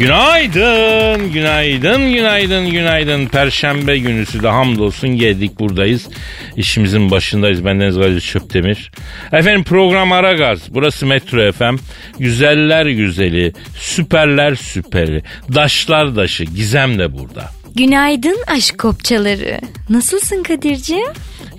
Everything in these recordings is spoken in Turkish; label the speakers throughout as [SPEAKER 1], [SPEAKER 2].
[SPEAKER 1] Günaydın, günaydın, günaydın, günaydın. Perşembe günüsü de hamdolsun geldik buradayız. İşimizin başındayız. Bendeniz Kadir Çöptemir. Efendim program Aragaz. Burası Metro FM. Güzeller güzeli, süperler süperi, daşlar daşı, gizem de burada.
[SPEAKER 2] Günaydın aşk kopçaları. Nasılsın Kadir'ciğim?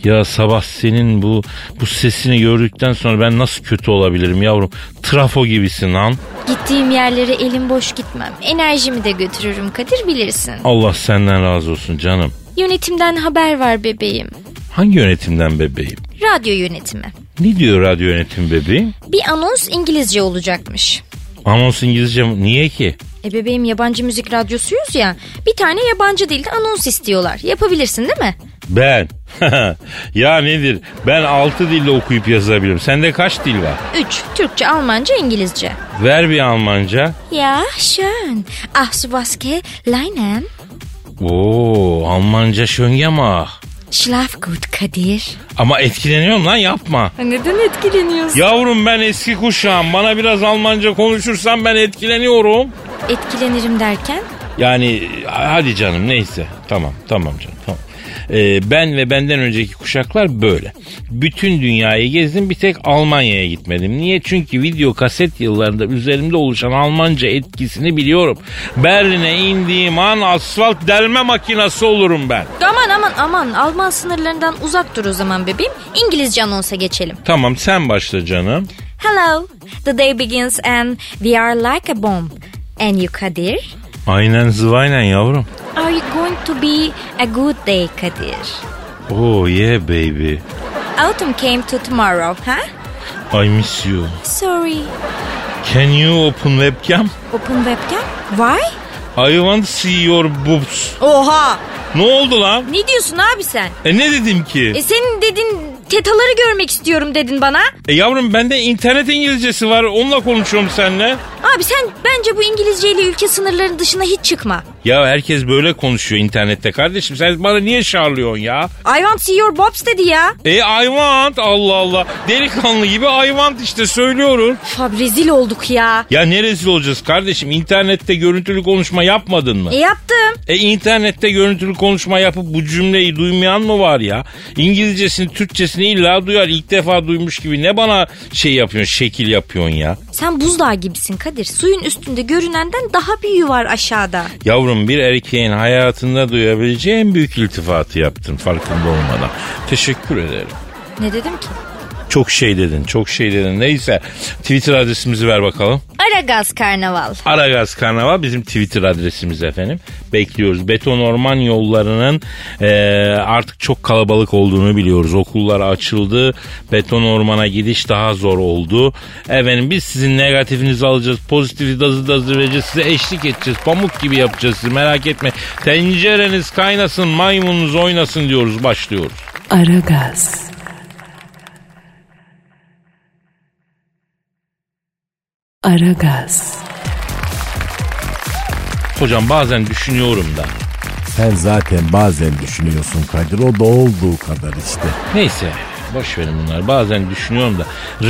[SPEAKER 1] Ya sabah senin bu bu sesini gördükten sonra ben nasıl kötü olabilirim yavrum? Trafo gibisin lan.
[SPEAKER 2] Gittiğim yerlere elim boş gitmem. Enerjimi de götürürüm Kadir bilirsin.
[SPEAKER 1] Allah senden razı olsun canım.
[SPEAKER 2] Yönetimden haber var bebeğim.
[SPEAKER 1] Hangi yönetimden bebeğim?
[SPEAKER 2] Radyo yönetimi.
[SPEAKER 1] Ne diyor radyo yönetim bebeğim?
[SPEAKER 2] Bir anons İngilizce olacakmış.
[SPEAKER 1] Anons İngilizce mi? Niye ki?
[SPEAKER 2] E bebeğim yabancı müzik radyosuyuz ya. Bir tane yabancı dilde anons istiyorlar. Yapabilirsin değil mi?
[SPEAKER 1] Ben. ya nedir? Ben 6 dille okuyup yazabilirim. Sende kaç dil var?
[SPEAKER 2] 3. Türkçe, Almanca, İngilizce.
[SPEAKER 1] Ver bir Almanca.
[SPEAKER 2] Ya schön. Ach so was leinen.
[SPEAKER 1] Oo, Almanca şöngemah.
[SPEAKER 2] Schlaf gut Kadir.
[SPEAKER 1] Ama etkileniyorum lan yapma.
[SPEAKER 2] Neden etkileniyorsun?
[SPEAKER 1] Yavrum ben eski kuşağım. Bana biraz Almanca konuşursan ben etkileniyorum.
[SPEAKER 2] Etkilenirim derken?
[SPEAKER 1] Yani hadi canım neyse. Tamam tamam canım tamam. Ee, ben ve benden önceki kuşaklar böyle. Bütün dünyayı gezdim bir tek Almanya'ya gitmedim. Niye? Çünkü video kaset yıllarında üzerimde oluşan Almanca etkisini biliyorum. Berlin'e indiğim an asfalt delme makinası olurum ben.
[SPEAKER 2] Aman aman aman Alman sınırlarından uzak dur o zaman bebeğim. İngilizce anonsa geçelim.
[SPEAKER 1] Tamam sen başla canım.
[SPEAKER 2] Hello, the day begins and we are like a bomb. And you Kadir?
[SPEAKER 1] Aynen zıvaynen yavrum.
[SPEAKER 2] Are you going to be a good day Kadir?
[SPEAKER 1] Oh yeah baby.
[SPEAKER 2] Autumn came to tomorrow, huh?
[SPEAKER 1] I miss you.
[SPEAKER 2] Sorry.
[SPEAKER 1] Can you open webcam?
[SPEAKER 2] Open webcam? Why?
[SPEAKER 1] I want to see your boobs.
[SPEAKER 2] Oha!
[SPEAKER 1] Ne oldu lan?
[SPEAKER 2] Ne diyorsun abi sen?
[SPEAKER 1] E ne dedim ki?
[SPEAKER 2] E senin dedin tetaları görmek istiyorum dedin bana.
[SPEAKER 1] E yavrum bende internet İngilizcesi var onunla konuşuyorum seninle.
[SPEAKER 2] Abi sen bence bu İngilizceyle ülke sınırlarının dışına hiç çıkma.
[SPEAKER 1] Ya herkes böyle konuşuyor internette kardeşim sen bana niye şarlıyorsun ya?
[SPEAKER 2] I want to see your bobs dedi ya.
[SPEAKER 1] E I want Allah Allah delikanlı gibi I want işte söylüyorum.
[SPEAKER 2] Fab rezil olduk ya.
[SPEAKER 1] Ya ne rezil olacağız kardeşim internette görüntülü konuşma yapmadın mı?
[SPEAKER 2] E yaptım.
[SPEAKER 1] E internette görüntülü konuşma yapıp bu cümleyi duymayan mı var ya? İngilizcesini Türkçesini illa duyar ilk defa duymuş gibi ne bana şey yapıyorsun şekil yapıyorsun ya?
[SPEAKER 2] Sen buzdağı gibisin Kadir. Suyun üstünde görünenden daha büyüğü var aşağıda.
[SPEAKER 1] Yavrum bir erkeğin hayatında duyabileceği en büyük iltifatı yaptın farkında olmadan. Teşekkür ederim.
[SPEAKER 2] Ne dedim ki?
[SPEAKER 1] Çok şey dedin, çok şey dedin. Neyse Twitter adresimizi ver bakalım.
[SPEAKER 2] Aragaz Karnaval.
[SPEAKER 1] Aragaz Karnaval bizim Twitter adresimiz efendim. Bekliyoruz. Beton orman yollarının e, artık çok kalabalık olduğunu biliyoruz. Okullar açıldı. Beton ormana gidiş daha zor oldu. Efendim biz sizin negatifinizi alacağız. Pozitifi dazı dazı vereceğiz. Size eşlik edeceğiz. Pamuk gibi yapacağız sizi merak etme. Tencereniz kaynasın maymununuz oynasın diyoruz. Başlıyoruz.
[SPEAKER 3] Aragaz, Aragaz,
[SPEAKER 1] Hocam bazen düşünüyorum da.
[SPEAKER 4] Sen zaten bazen düşünüyorsun Kadir. O da olduğu kadar işte.
[SPEAKER 1] Neyse boş verin bunlar. Bazen düşünüyorum da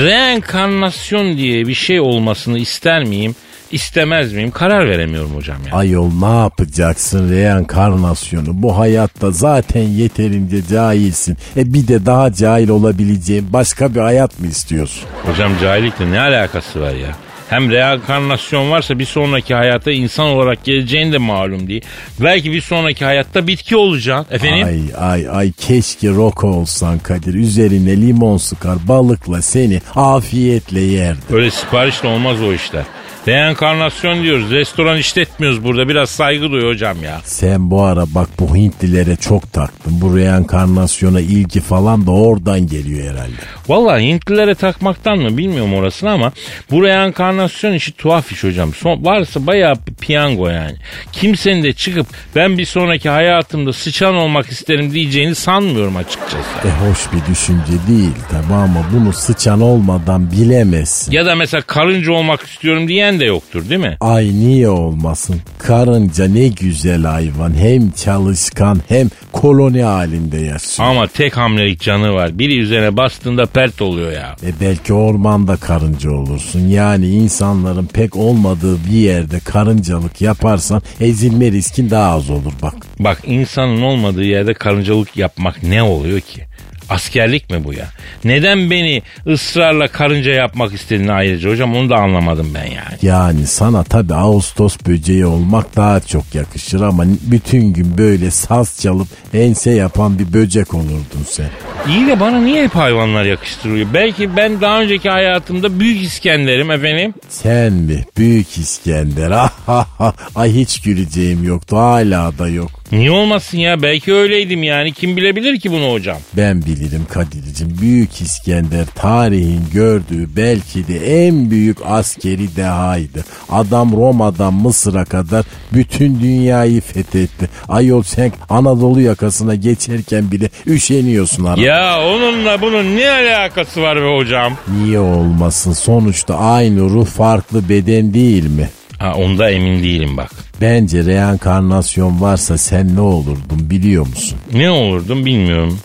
[SPEAKER 1] reenkarnasyon diye bir şey olmasını ister miyim? istemez miyim? Karar veremiyorum hocam ya.
[SPEAKER 4] Ayol ne yapacaksın reenkarnasyonu? Bu hayatta zaten yeterince cahilsin. E bir de daha cahil olabileceğin başka bir hayat mı istiyorsun?
[SPEAKER 1] Hocam cahillikle ne alakası var ya? Hem reenkarnasyon varsa bir sonraki hayata insan olarak geleceğin de malum değil. Belki bir sonraki hayatta bitki olacaksın. Efendim?
[SPEAKER 4] Ay ay ay keşke Roko olsan Kadir. Üzerine limon sıkar balıkla seni afiyetle yerdi.
[SPEAKER 1] Öyle siparişle olmaz o işler. Reenkarnasyon diyoruz. Restoran işletmiyoruz burada. Biraz saygı duy hocam ya.
[SPEAKER 4] Sen bu ara bak bu Hintlilere çok taktın. Bu reenkarnasyona ilgi falan da oradan geliyor herhalde.
[SPEAKER 1] Vallahi Hintlilere takmaktan mı bilmiyorum orasını ama bu reenkarnasyon işi tuhaf iş hocam. Son, varsa bayağı bir piyango yani. Kimsenin de çıkıp ben bir sonraki hayatımda sıçan olmak isterim diyeceğini sanmıyorum açıkçası.
[SPEAKER 4] E hoş bir düşünce değil tabi ama bunu sıçan olmadan bilemezsin.
[SPEAKER 1] Ya da mesela karınca olmak istiyorum diyen de yoktur değil mi?
[SPEAKER 4] Ay niye olmasın? Karınca ne güzel hayvan. Hem çalışkan hem koloni halinde yaşıyor.
[SPEAKER 1] Ama tek hamlelik canı var. Biri üzerine bastığında pert oluyor ya.
[SPEAKER 4] E belki ormanda karınca olursun. Yani insanların pek olmadığı bir yerde karıncalık yaparsan ezilme riskin daha az olur bak.
[SPEAKER 1] Bak insanın olmadığı yerde karıncalık yapmak ne oluyor ki? Askerlik mi bu ya? Neden beni ısrarla karınca yapmak istediğini ayrıca hocam onu da anlamadım ben yani.
[SPEAKER 4] Yani sana tabi Ağustos böceği olmak daha çok yakışır ama bütün gün böyle saz çalıp ense yapan bir böcek olurdun sen.
[SPEAKER 1] İyi de bana niye hep hayvanlar yakıştırılıyor? Belki ben daha önceki hayatımda Büyük İskender'im efendim.
[SPEAKER 4] Sen mi? Büyük İskender. Ah, ah, ah. Ay hiç güleceğim yoktu hala da yok.
[SPEAKER 1] Niye olmasın ya? Belki öyleydim yani. Kim bilebilir ki bunu hocam?
[SPEAKER 4] Ben bilirim Kadir'cim. Büyük İskender tarihin gördüğü belki de en büyük askeri dehaydı. Adam Roma'dan Mısır'a kadar bütün dünyayı fethetti. Ayol sen Anadolu yakasına geçerken bile üşeniyorsun arada.
[SPEAKER 1] Ya onunla bunun ne alakası var be hocam?
[SPEAKER 4] Niye olmasın? Sonuçta aynı ruh farklı beden değil mi?
[SPEAKER 1] Ha onda emin değilim bak.
[SPEAKER 4] Bence reenkarnasyon varsa sen ne olurdun biliyor musun?
[SPEAKER 1] Ne olurdum bilmiyorum.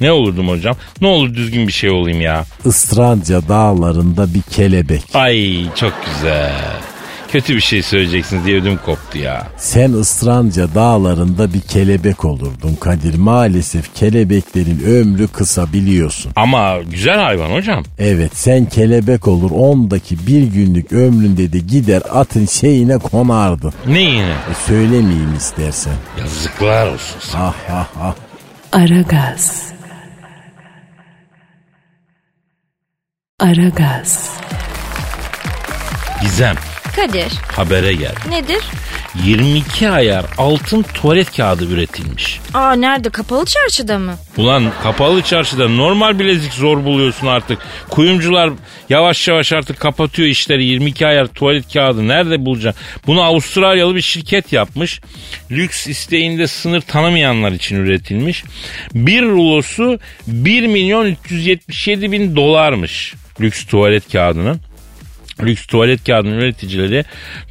[SPEAKER 1] Ne olurdum hocam? Ne olur düzgün bir şey olayım ya.
[SPEAKER 4] Isranca dağlarında bir kelebek.
[SPEAKER 1] Ay çok güzel. Kötü bir şey söyleyeceksiniz diye ödüm koptu ya.
[SPEAKER 4] Sen ısranca dağlarında bir kelebek olurdun Kadir. Maalesef kelebeklerin ömrü kısa biliyorsun.
[SPEAKER 1] Ama güzel hayvan hocam.
[SPEAKER 4] Evet sen kelebek olur ondaki bir günlük ömründe de gider atın şeyine konardın.
[SPEAKER 1] Ne yine?
[SPEAKER 4] E, söylemeyeyim istersen.
[SPEAKER 1] Yazıklar olsun sana.
[SPEAKER 4] Ah ah ah.
[SPEAKER 3] Aragaz. Aragaz.
[SPEAKER 1] Gizem
[SPEAKER 2] Kadir
[SPEAKER 1] habere gel.
[SPEAKER 2] nedir?
[SPEAKER 1] 22 ayar altın tuvalet kağıdı üretilmiş.
[SPEAKER 2] Aa nerede kapalı çarşıda mı?
[SPEAKER 1] Ulan kapalı çarşıda normal bilezik zor buluyorsun artık. Kuyumcular yavaş yavaş artık kapatıyor işleri. 22 ayar tuvalet kağıdı nerede bulacaksın? Bunu Avustralyalı bir şirket yapmış. Lüks isteğinde sınır tanımayanlar için üretilmiş. Bir rulosu 1 milyon 377 bin dolarmış lüks tuvalet kağıdının. Lüks tuvalet kağıdının üreticileri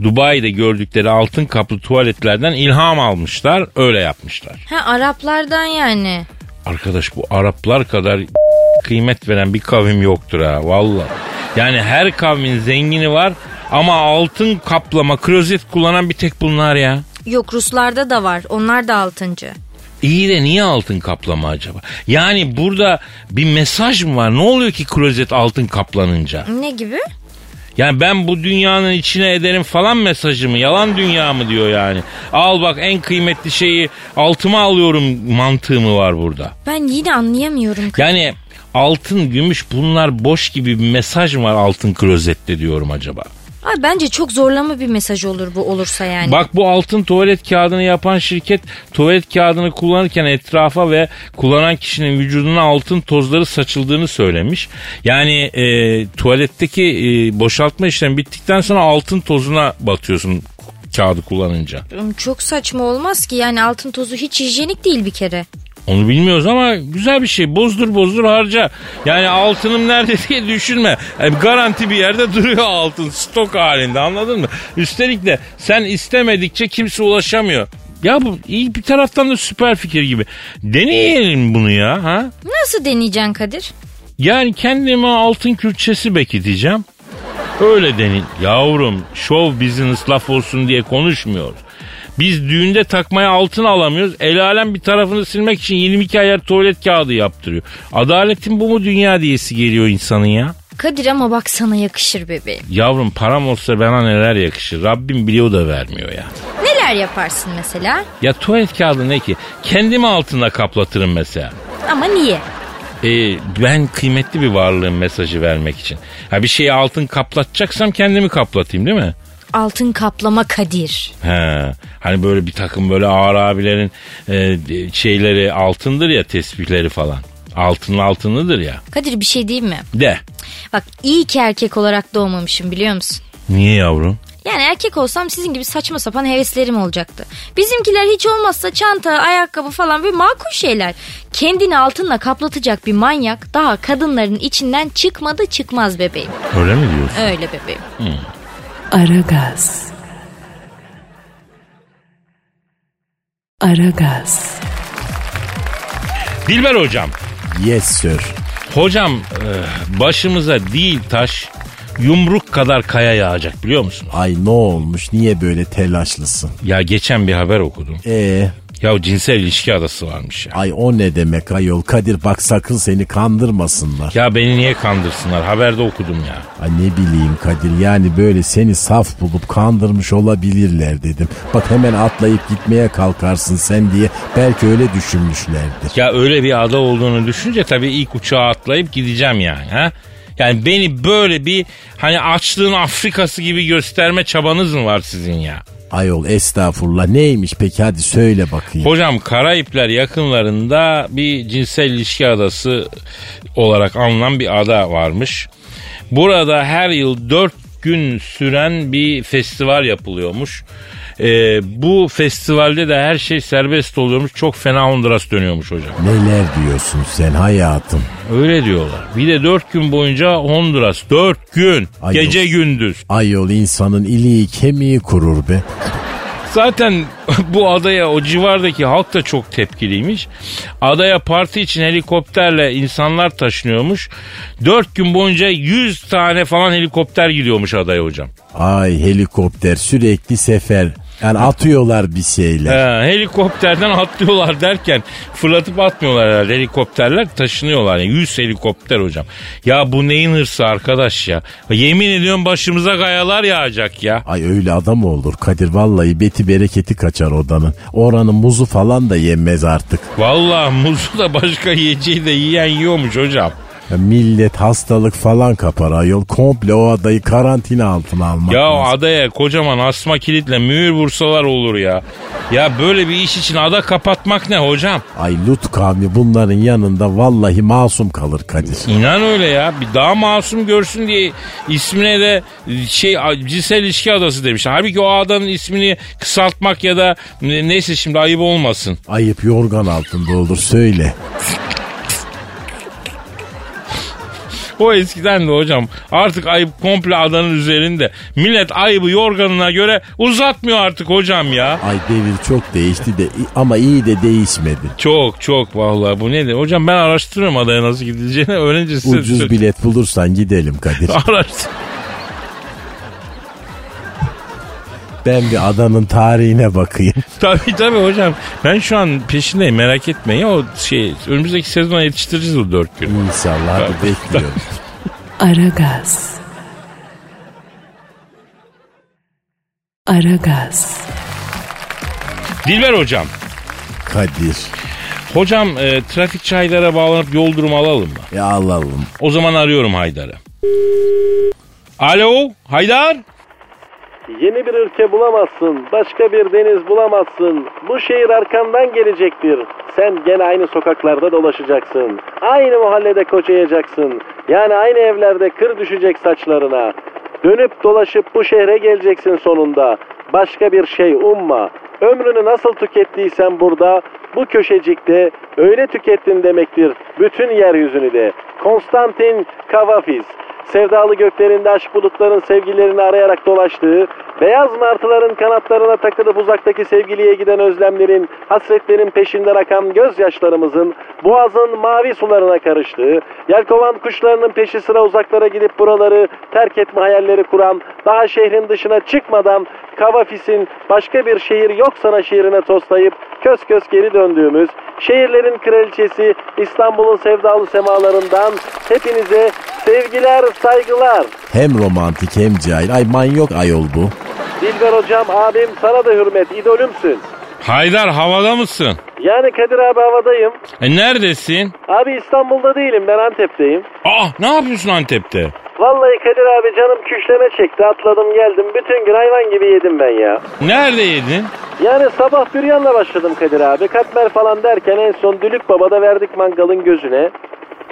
[SPEAKER 1] Dubai'de gördükleri altın kaplı tuvaletlerden ilham almışlar, öyle yapmışlar.
[SPEAKER 2] Ha Araplardan yani.
[SPEAKER 1] Arkadaş bu Araplar kadar kıymet veren bir kavim yoktur ha valla. Yani her kavmin zengini var ama altın kaplama klozet kullanan bir tek bunlar ya.
[SPEAKER 2] Yok Ruslarda da var. Onlar da altıncı.
[SPEAKER 1] İyi de niye altın kaplama acaba? Yani burada bir mesaj mı var? Ne oluyor ki klozet altın kaplanınca?
[SPEAKER 2] Ne gibi?
[SPEAKER 1] Yani ben bu dünyanın içine ederim falan mesajı mı? Yalan dünya mı diyor yani? Al bak en kıymetli şeyi altıma alıyorum mantığı mı var burada?
[SPEAKER 2] Ben yine anlayamıyorum.
[SPEAKER 1] Yani altın, gümüş bunlar boş gibi bir mesaj mı var altın klozette diyorum acaba?
[SPEAKER 2] Ay bence çok zorlama bir mesaj olur bu olursa yani.
[SPEAKER 1] Bak bu altın tuvalet kağıdını yapan şirket tuvalet kağıdını kullanırken etrafa ve kullanan kişinin vücuduna altın tozları saçıldığını söylemiş. Yani e, tuvaletteki e, boşaltma işlemi bittikten sonra altın tozuna batıyorsun kağıdı kullanınca.
[SPEAKER 2] Çok saçma olmaz ki yani altın tozu hiç hijyenik değil bir kere.
[SPEAKER 1] Onu bilmiyoruz ama güzel bir şey. Bozdur bozdur harca. Yani altınım nerede diye düşünme. Yani garanti bir yerde duruyor altın stok halinde anladın mı? Üstelik de sen istemedikçe kimse ulaşamıyor. Ya bu iyi bir taraftan da süper fikir gibi. Deneyelim bunu ya ha.
[SPEAKER 2] Nasıl deneyeceksin Kadir?
[SPEAKER 1] Yani kendime altın külçesi bekleteceğim. Öyle denin. Yavrum show business laf olsun diye konuşmuyoruz. Biz düğünde takmaya altın alamıyoruz. El alem bir tarafını silmek için 22 ayar tuvalet kağıdı yaptırıyor. Adaletin bu mu dünya diyesi geliyor insanın ya.
[SPEAKER 2] Kadir ama bak sana yakışır bebeğim.
[SPEAKER 1] Yavrum param olsa bana neler yakışır. Rabbim biliyor da vermiyor ya.
[SPEAKER 2] Neler yaparsın mesela?
[SPEAKER 1] Ya tuvalet kağıdı ne ki? Kendimi altına kaplatırım mesela.
[SPEAKER 2] Ama niye?
[SPEAKER 1] Ee, ben kıymetli bir varlığım mesajı vermek için. Ha bir şeyi altın kaplatacaksam kendimi kaplatayım değil mi?
[SPEAKER 2] Altın kaplama Kadir.
[SPEAKER 1] He. Hani böyle bir takım böyle ağır abilerin e, şeyleri altındır ya tesbihleri falan. Altın altınlıdır ya.
[SPEAKER 2] Kadir bir şey diyeyim mi?
[SPEAKER 1] De.
[SPEAKER 2] Bak iyi ki erkek olarak doğmamışım biliyor musun?
[SPEAKER 1] Niye yavrum?
[SPEAKER 2] Yani erkek olsam sizin gibi saçma sapan heveslerim olacaktı. Bizimkiler hiç olmazsa çanta, ayakkabı falan bir makul şeyler. Kendini altınla kaplatacak bir manyak daha kadınların içinden çıkmadı çıkmaz bebeğim.
[SPEAKER 1] Öyle mi diyorsun?
[SPEAKER 2] Öyle bebeğim.
[SPEAKER 3] Aragaz. Aragaz.
[SPEAKER 1] Dilber hocam.
[SPEAKER 4] Yes sir.
[SPEAKER 1] Hocam e, başımıza değil taş yumruk kadar kaya yağacak biliyor musun?
[SPEAKER 4] Ay ne olmuş niye böyle telaşlısın?
[SPEAKER 1] Ya geçen bir haber okudum.
[SPEAKER 4] Ee,
[SPEAKER 1] Ya cinsel ilişki adası varmış ya.
[SPEAKER 4] ay o ne demek ayol Kadir bak sakın seni kandırmasınlar.
[SPEAKER 1] Ya beni niye kandırsınlar? Haberde okudum ya.
[SPEAKER 4] Ay ne bileyim Kadir yani böyle seni saf bulup kandırmış olabilirler dedim. Bak hemen atlayıp gitmeye kalkarsın sen diye belki öyle düşünmüşlerdir.
[SPEAKER 1] Ya öyle bir ada olduğunu düşünce tabii ilk uçağa atlayıp gideceğim yani. Ha? Yani beni böyle bir hani açlığın Afrikası gibi gösterme çabanız mı var sizin ya?
[SPEAKER 4] Ayol estağfurullah neymiş peki hadi söyle bakayım.
[SPEAKER 1] Hocam Karayipler yakınlarında bir cinsel ilişki adası olarak anılan bir ada varmış. Burada her yıl 4 gün süren bir festival yapılıyormuş. Ee, bu festivalde de her şey serbest oluyormuş. Çok fena Honduras dönüyormuş hocam.
[SPEAKER 4] Neler diyorsun sen hayatım?
[SPEAKER 1] Öyle diyorlar. Bir de 4 gün boyunca Honduras. 4 gün.
[SPEAKER 4] Ay
[SPEAKER 1] gece
[SPEAKER 4] yok.
[SPEAKER 1] gündüz.
[SPEAKER 4] Ayol insanın iliği kemiği kurur be.
[SPEAKER 1] Zaten bu adaya o civardaki halk da çok tepkiliymiş. Adaya parti için helikopterle insanlar taşınıyormuş. 4 gün boyunca 100 tane falan helikopter gidiyormuş adaya hocam.
[SPEAKER 4] Ay helikopter sürekli sefer. Yani atıyorlar bir şeyler.
[SPEAKER 1] He, helikopterden atlıyorlar derken fırlatıp atmıyorlar herhalde helikopterler taşınıyorlar. Yani 100 helikopter hocam. Ya bu neyin hırsı arkadaş ya. Yemin ediyorum başımıza kayalar yağacak ya.
[SPEAKER 4] Ay öyle adam olur Kadir vallahi beti bereketi kaçar odanın. Oranın muzu falan da yenmez artık.
[SPEAKER 1] Vallahi muzu da başka yiyeceği de yiyen yiyormuş hocam.
[SPEAKER 4] Ya millet hastalık falan kapar ayol. Komple o adayı karantina altına almak
[SPEAKER 1] Ya
[SPEAKER 4] lazım.
[SPEAKER 1] adaya kocaman asma kilitle mühür vursalar olur ya. Ya böyle bir iş için ada kapatmak ne hocam?
[SPEAKER 4] Ay Lut kavmi bunların yanında vallahi masum kalır Kadir.
[SPEAKER 1] İnan öyle ya. Bir daha masum görsün diye ismine de şey cinsel ilişki adası demişler. Halbuki o adanın ismini kısaltmak ya da ne- neyse şimdi ayıp olmasın.
[SPEAKER 4] Ayıp yorgan altında olur söyle.
[SPEAKER 1] O eskiden de hocam artık ayıp komple adanın üzerinde. Millet ayıbı yorganına göre uzatmıyor artık hocam ya.
[SPEAKER 4] Ay devir çok değişti de ama iyi de değişmedi.
[SPEAKER 1] Çok çok vallahi bu nedir? Hocam ben araştırıyorum adaya nasıl gidileceğini öğrenci size
[SPEAKER 4] Ucuz bilet bulursan gidelim Kadir.
[SPEAKER 1] Araştır.
[SPEAKER 4] Ben bir adanın tarihine bakayım.
[SPEAKER 1] Tabii tabii hocam. Ben şu an peşindeyim merak etmeyin. O şey önümüzdeki sezona yetiştireceğiz o dört günü.
[SPEAKER 4] İnşallah hadi bekliyorum.
[SPEAKER 3] Aragaz. Aragaz.
[SPEAKER 1] Dilber hocam.
[SPEAKER 4] Kadir.
[SPEAKER 1] Hocam e, trafik çaylara bağlanıp yol durumu alalım mı?
[SPEAKER 4] Ya e alalım.
[SPEAKER 1] O zaman arıyorum Haydar'ı. Alo Haydar.
[SPEAKER 5] Yeni bir ülke bulamazsın, başka bir deniz bulamazsın. Bu şehir arkandan gelecektir. Sen gene aynı sokaklarda dolaşacaksın. Aynı mahallede kocayacaksın. Yani aynı evlerde kır düşecek saçlarına. Dönüp dolaşıp bu şehre geleceksin sonunda. Başka bir şey umma. Ömrünü nasıl tükettiysen burada, bu köşecikte öyle tükettin demektir bütün yeryüzünü de. Konstantin Kavafis. Sevdalı göklerinde aşk bulutların sevgililerini arayarak dolaştığı, beyaz martıların kanatlarına takılıp uzaktaki sevgiliye giden özlemlerin, hasretlerin peşinden akan gözyaşlarımızın, boğazın mavi sularına karıştığı, yelkovan kuşlarının peşi sıra uzaklara gidip buraları terk etme hayalleri kuran, daha şehrin dışına çıkmadan Kavafis'in başka bir şehir yok sana şiirine toslayıp köz köz geri döndüğümüz, şehirlerin kraliçesi İstanbul'un sevdalı semalarından hepinize Sevgiler, saygılar.
[SPEAKER 4] Hem romantik hem cahil. Ay manyok ayol bu.
[SPEAKER 5] Dilber hocam, abim sana da hürmet, idolümsün.
[SPEAKER 1] Haydar havada mısın?
[SPEAKER 5] Yani Kadir abi havadayım.
[SPEAKER 1] E neredesin?
[SPEAKER 5] Abi İstanbul'da değilim, ben Antep'teyim.
[SPEAKER 1] Aa ne yapıyorsun Antep'te?
[SPEAKER 5] Vallahi Kadir abi canım küşleme çekti, atladım geldim. Bütün gün hayvan gibi yedim ben ya.
[SPEAKER 1] Nerede yedin?
[SPEAKER 5] Yani sabah büryanla başladım Kadir abi. Katmer falan derken en son Dülük Baba'da verdik mangalın gözüne.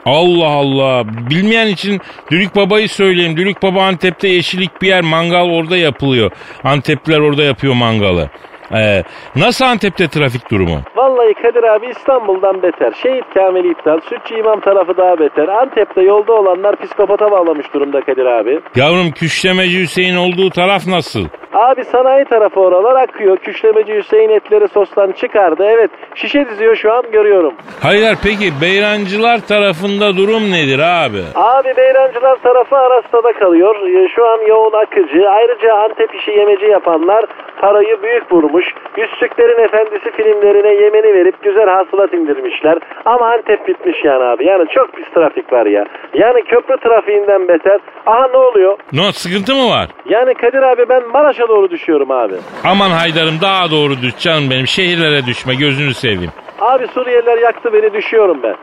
[SPEAKER 1] Allah Allah. Bilmeyen için Dülük Baba'yı söyleyeyim. Dülük Baba Antep'te yeşillik bir yer. Mangal orada yapılıyor. Antepliler orada yapıyor mangalı. Ee, nasıl Antep'te trafik durumu?
[SPEAKER 5] Vallahi Kadir abi İstanbul'dan beter. Şehit Kamil iptal, Sütçü İmam tarafı daha beter. Antep'te yolda olanlar psikopata bağlamış durumda Kadir abi.
[SPEAKER 1] Yavrum Küşlemeci Hüseyin olduğu taraf nasıl?
[SPEAKER 5] Abi sanayi tarafı oralar akıyor. Küşlemeci Hüseyin etleri sostan çıkardı. Evet şişe diziyor şu an görüyorum.
[SPEAKER 1] Haydar peki Beyrancılar tarafında durum nedir abi?
[SPEAKER 5] Abi Beyrancılar tarafı Arasta'da kalıyor. Ee, Şu an yoğun akıcı. Ayrıca Antep işi yemeci yapanlar parayı büyük vurmuş. Yüzsüklerin Efendisi filmlerine yemeni verip güzel hasılat indirmişler. Ama Antep bitmiş yani abi. Yani çok pis trafik var ya. Yani köprü trafiğinden beter. Aha ne oluyor?
[SPEAKER 1] No sıkıntı mı var?
[SPEAKER 5] Yani Kadir abi ben Maraş'a doğru düşüyorum abi.
[SPEAKER 1] Aman Haydar'ım daha doğru düş canım benim. Şehirlere düşme gözünü seveyim.
[SPEAKER 5] Abi Suriyeliler yaktı beni düşüyorum ben.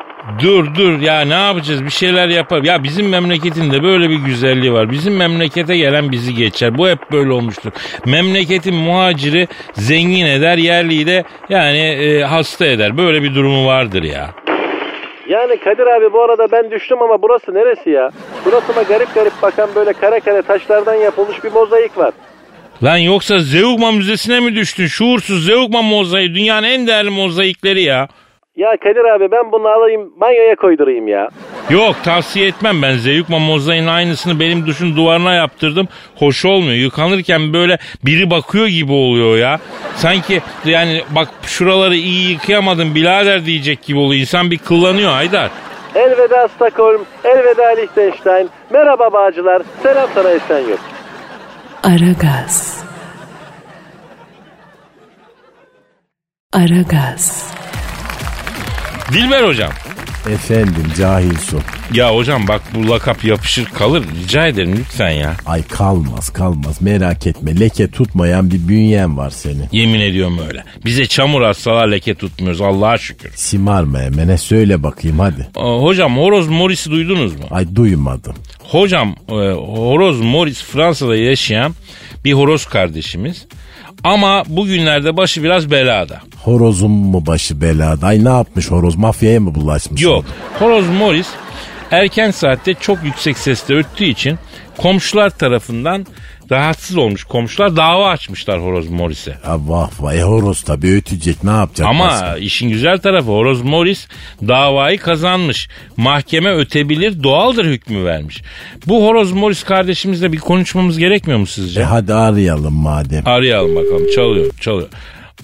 [SPEAKER 1] Dur dur ya ne yapacağız bir şeyler yapar. Ya bizim memleketin de böyle bir güzelliği var. Bizim memlekete gelen bizi geçer. Bu hep böyle olmuştur. Memleketin muhaciri zengin eder yerliyi de yani e, hasta eder. Böyle bir durumu vardır ya.
[SPEAKER 5] Yani Kadir abi bu arada ben düştüm ama burası neresi ya? Suratıma garip garip bakan böyle kare kare taşlardan yapılmış bir mozaik var.
[SPEAKER 1] Lan yoksa Zeugma Müzesi'ne mi düştün? Şuursuz Zeugma mozaiği dünyanın en değerli mozaikleri ya.
[SPEAKER 5] Ya Kadir abi ben bunu alayım banyoya koydurayım ya.
[SPEAKER 1] Yok tavsiye etmem ben Zeugma mozaiğinin aynısını benim duşun duvarına yaptırdım. Hoş olmuyor. Yıkanırken böyle biri bakıyor gibi oluyor ya. Sanki yani bak şuraları iyi yıkayamadım birader diyecek gibi oluyor. İnsan bir kıllanıyor Haydar.
[SPEAKER 5] Elveda Stockholm, elveda Liechtenstein, merhaba bağcılar, selam sana Esenyurt.
[SPEAKER 6] Aragaz. Aragaz.
[SPEAKER 1] Dilber hocam.
[SPEAKER 4] Efendim cahil su.
[SPEAKER 1] Ya hocam bak bu lakap yapışır kalır. Rica ederim lütfen ya.
[SPEAKER 4] Ay kalmaz kalmaz merak etme. Leke tutmayan bir bünyen var senin.
[SPEAKER 1] Yemin ediyorum öyle. Bize çamur atsalar leke tutmuyoruz Allah'a şükür.
[SPEAKER 4] Simarma hemene söyle bakayım hadi.
[SPEAKER 1] Aa, Hocam horoz morisi duydunuz mu?
[SPEAKER 4] Ay duymadım.
[SPEAKER 1] Hocam e, horoz Morris Fransa'da yaşayan bir horoz kardeşimiz. Ama bugünlerde başı biraz belada.
[SPEAKER 4] Horozun mu başı belada? Ay ne yapmış horoz? Mafyaya mı bulaşmış?
[SPEAKER 1] Yok. Horoz Morris erken saatte çok yüksek sesle öttüğü için komşular tarafından rahatsız olmuş. Komşular dava açmışlar Horoz Morris'e.
[SPEAKER 4] Ya vah vah. E horoz tabii ötecek ne yapacak? başka?
[SPEAKER 1] Ama işin güzel tarafı Horoz Morris davayı kazanmış. Mahkeme ötebilir doğaldır hükmü vermiş. Bu Horoz Morris kardeşimizle bir konuşmamız gerekmiyor mu sizce?
[SPEAKER 4] E hadi arayalım madem.
[SPEAKER 1] Arayalım bakalım. Çalıyor, çalıyor.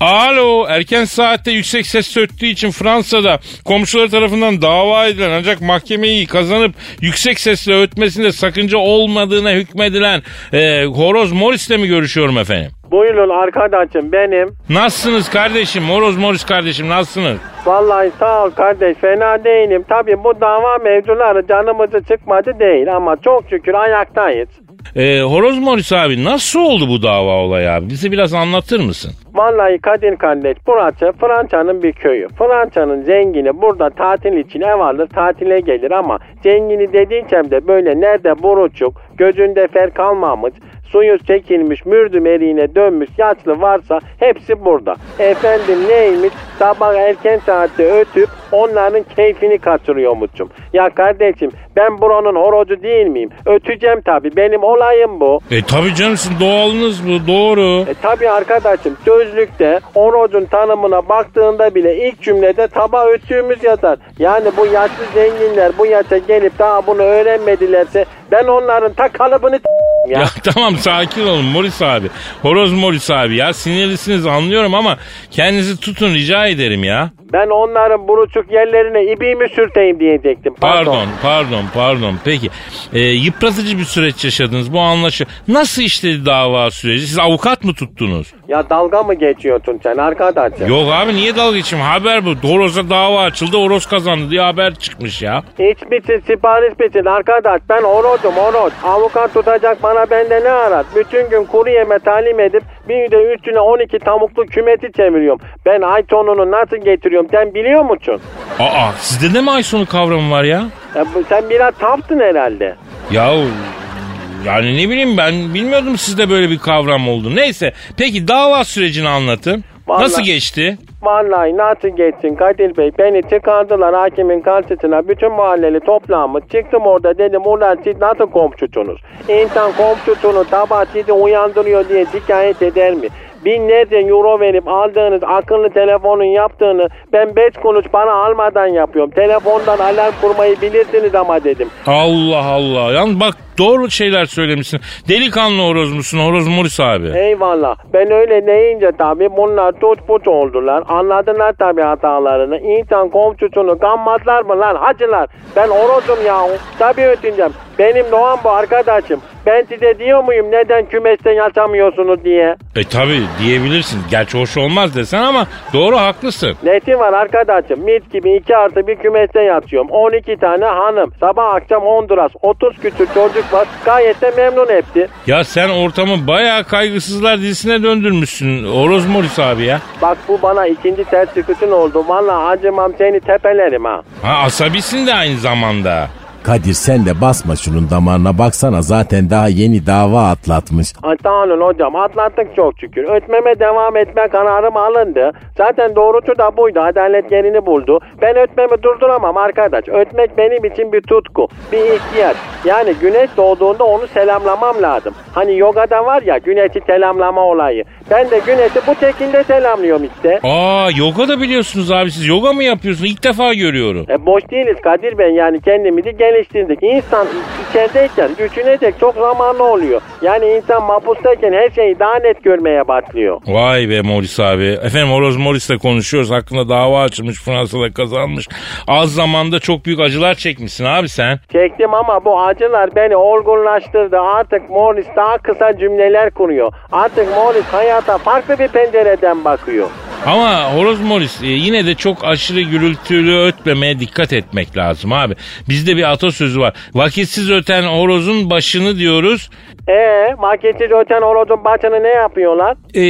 [SPEAKER 1] Alo, erken saatte yüksek ses söktüğü için Fransa'da komşuları tarafından dava edilen ancak mahkemeyi kazanıp yüksek sesle ötmesinde sakınca olmadığına hükmedilen e, Horoz Morris'le mi görüşüyorum efendim?
[SPEAKER 5] Buyurun arkadaşım benim.
[SPEAKER 1] Nasılsınız kardeşim? Horoz Morris kardeşim nasılsınız?
[SPEAKER 5] Vallahi sağ ol kardeş fena değilim. Tabii bu dava mevzuları canımızı çıkmadı değil ama çok şükür ayaktayız.
[SPEAKER 1] E, Horoz Morris abi nasıl oldu bu dava olayı abi? Bize biraz anlatır mısın?
[SPEAKER 5] Vallahi Kadir kardeş burası Fransa'nın bir köyü. Fransa'nın zengini burada tatil için ev alır tatile gelir ama zengini dediysem de böyle nerede boruçuk, gözünde fer kalmamış, suyu çekilmiş, mürdüm eriğine dönmüş yaşlı varsa hepsi burada. Efendim neymiş sabah erken saatte ötüp onların keyfini kaçırıyormuşum. Ya kardeşim ben buranın horocu değil miyim? Öteceğim tabii benim olayım bu.
[SPEAKER 1] E tabii canım sizin doğalınız bu doğru.
[SPEAKER 5] E tabi arkadaşım sözlükte orucun tanımına baktığında bile ilk cümlede tabağı öttüğümüz yazar. Yani bu yaşlı zenginler bu yaşa gelip daha bunu öğrenmedilerse ben onların ta kalıbını ya.
[SPEAKER 1] Ya tamam sakin olun Morris abi. Horoz Morris abi ya sinirlisiniz anlıyorum ama kendinizi tutun rica ederim ya.
[SPEAKER 5] Ben onların buruçuk yerlerine ibiğimi sürteyim diyecektim.
[SPEAKER 1] Pardon, pardon, pardon. Peki. Ee, yıpratıcı bir süreç yaşadınız. Bu anlaşı nasıl işledi dava süreci? Siz avukat mı tuttunuz?
[SPEAKER 5] Ya dalga mı geçiyorsun sen arkadaş?
[SPEAKER 1] Yok abi niye dalga geçeyim? Haber bu. Horoz'a dava açıldı. Horoz kazandı diye haber çıkmış ya.
[SPEAKER 5] Hiç misin sipariş misin arkadaş? Ben orozum oroz. Avukat tutacak bana bende ne arar? Bütün gün kuru yeme talim edip bir de üstüne 12 tavuklu kümeti çeviriyorum. Ben ay sonunu nasıl getiriyorum sen biliyor musun?
[SPEAKER 1] Aa sizde de mi ay sonu kavramı var ya?
[SPEAKER 5] Ya bu- sen biraz taftın herhalde.
[SPEAKER 1] Yahu yani ne bileyim ben bilmiyordum sizde böyle bir kavram oldu. Neyse peki dava sürecini anlatın.
[SPEAKER 5] Vallahi-
[SPEAKER 1] Nasıl geçti?
[SPEAKER 5] Vallahi nasıl geçsin Kadir Bey? Beni çıkardılar hakimin karşısına. Bütün mahalleli toplanmış. Çıktım orada dedim ulan siz nasıl komşusunuz? İnsan komşusunu sabah sizi uyandırıyor diye şikayet eder mi? Binlerce euro verip aldığınız akıllı telefonun yaptığını ben beş kuruş para almadan yapıyorum. Telefondan alarm kurmayı bilirsiniz ama dedim.
[SPEAKER 1] Allah Allah. Yalnız bak doğru şeyler söylemişsin. Delikanlı horoz musun? Horoz Morris abi.
[SPEAKER 5] Eyvallah. Ben öyle deyince tabii bunlar tut put oldular. Anladılar tabii hatalarını. İnsan komşusunu kanmazlar mı lan hacılar? Ben orozum yahu. Tabii ötüneceğim. Benim doğan bu arkadaşım. Ben size diyor muyum neden kümeste yaşamıyorsunuz diye?
[SPEAKER 1] E tabi diyebilirsin. Gerçi hoş olmaz desen ama doğru haklısın.
[SPEAKER 5] Neti var arkadaşım. Mit gibi iki artı bir kümeste yatıyorum. 12 tane hanım. Sabah akşam Honduras. 30 küçük çocuk var. Gayet de memnun hepsi.
[SPEAKER 1] Ya sen ortamı bayağı kaygısızlar dizisine döndürmüşsün. Horoz Morris abi ya.
[SPEAKER 5] Bak bu bana ikinci ters çıkışın oldu. Vallahi acımam seni tepelerim ha.
[SPEAKER 1] Ha asabisin de aynı zamanda.
[SPEAKER 4] Kadir sen de basma şunun damarına baksana zaten daha yeni dava atlatmış.
[SPEAKER 5] Ay sağ olun hocam atlattık çok şükür. Ötmeme devam etme kararım alındı. Zaten doğrusu da buydu. Adalet yerini buldu. Ben ötmemi durduramam arkadaş. Ötmek benim için bir tutku, bir ihtiyaç. Yani güneş doğduğunda onu selamlamam lazım. Hani yogada var ya güneşi selamlama olayı. Ben de güneşi bu şekilde selamlıyorum işte.
[SPEAKER 1] Aa yoga da biliyorsunuz abi siz yoga mı yapıyorsunuz? İlk defa görüyorum.
[SPEAKER 5] E, boş değiliz Kadir Bey yani kendimizi geliştirdik. İnsan içerideyken düşünecek çok zamanı oluyor. Yani insan mahpustayken her şeyi daha net görmeye başlıyor.
[SPEAKER 1] Vay be Morris abi. Efendim Horoz Morris'le konuşuyoruz. Hakkında dava açılmış. Fransa'da kazanmış. Az zamanda çok büyük acılar çekmişsin abi sen.
[SPEAKER 5] Çektim ama bu acılar beni olgunlaştırdı. Artık Morris daha kısa cümleler kuruyor. Artık Morris hayata farklı bir pencereden bakıyor.
[SPEAKER 1] Ama Horoz Morris e, yine de çok aşırı gürültülü ötmemeye dikkat etmek lazım abi. Bizde bir atasözü var. Vakitsiz öten horozun başını diyoruz.
[SPEAKER 5] Ee, marketçi öten horozun başını ne yapıyorlar?
[SPEAKER 1] E,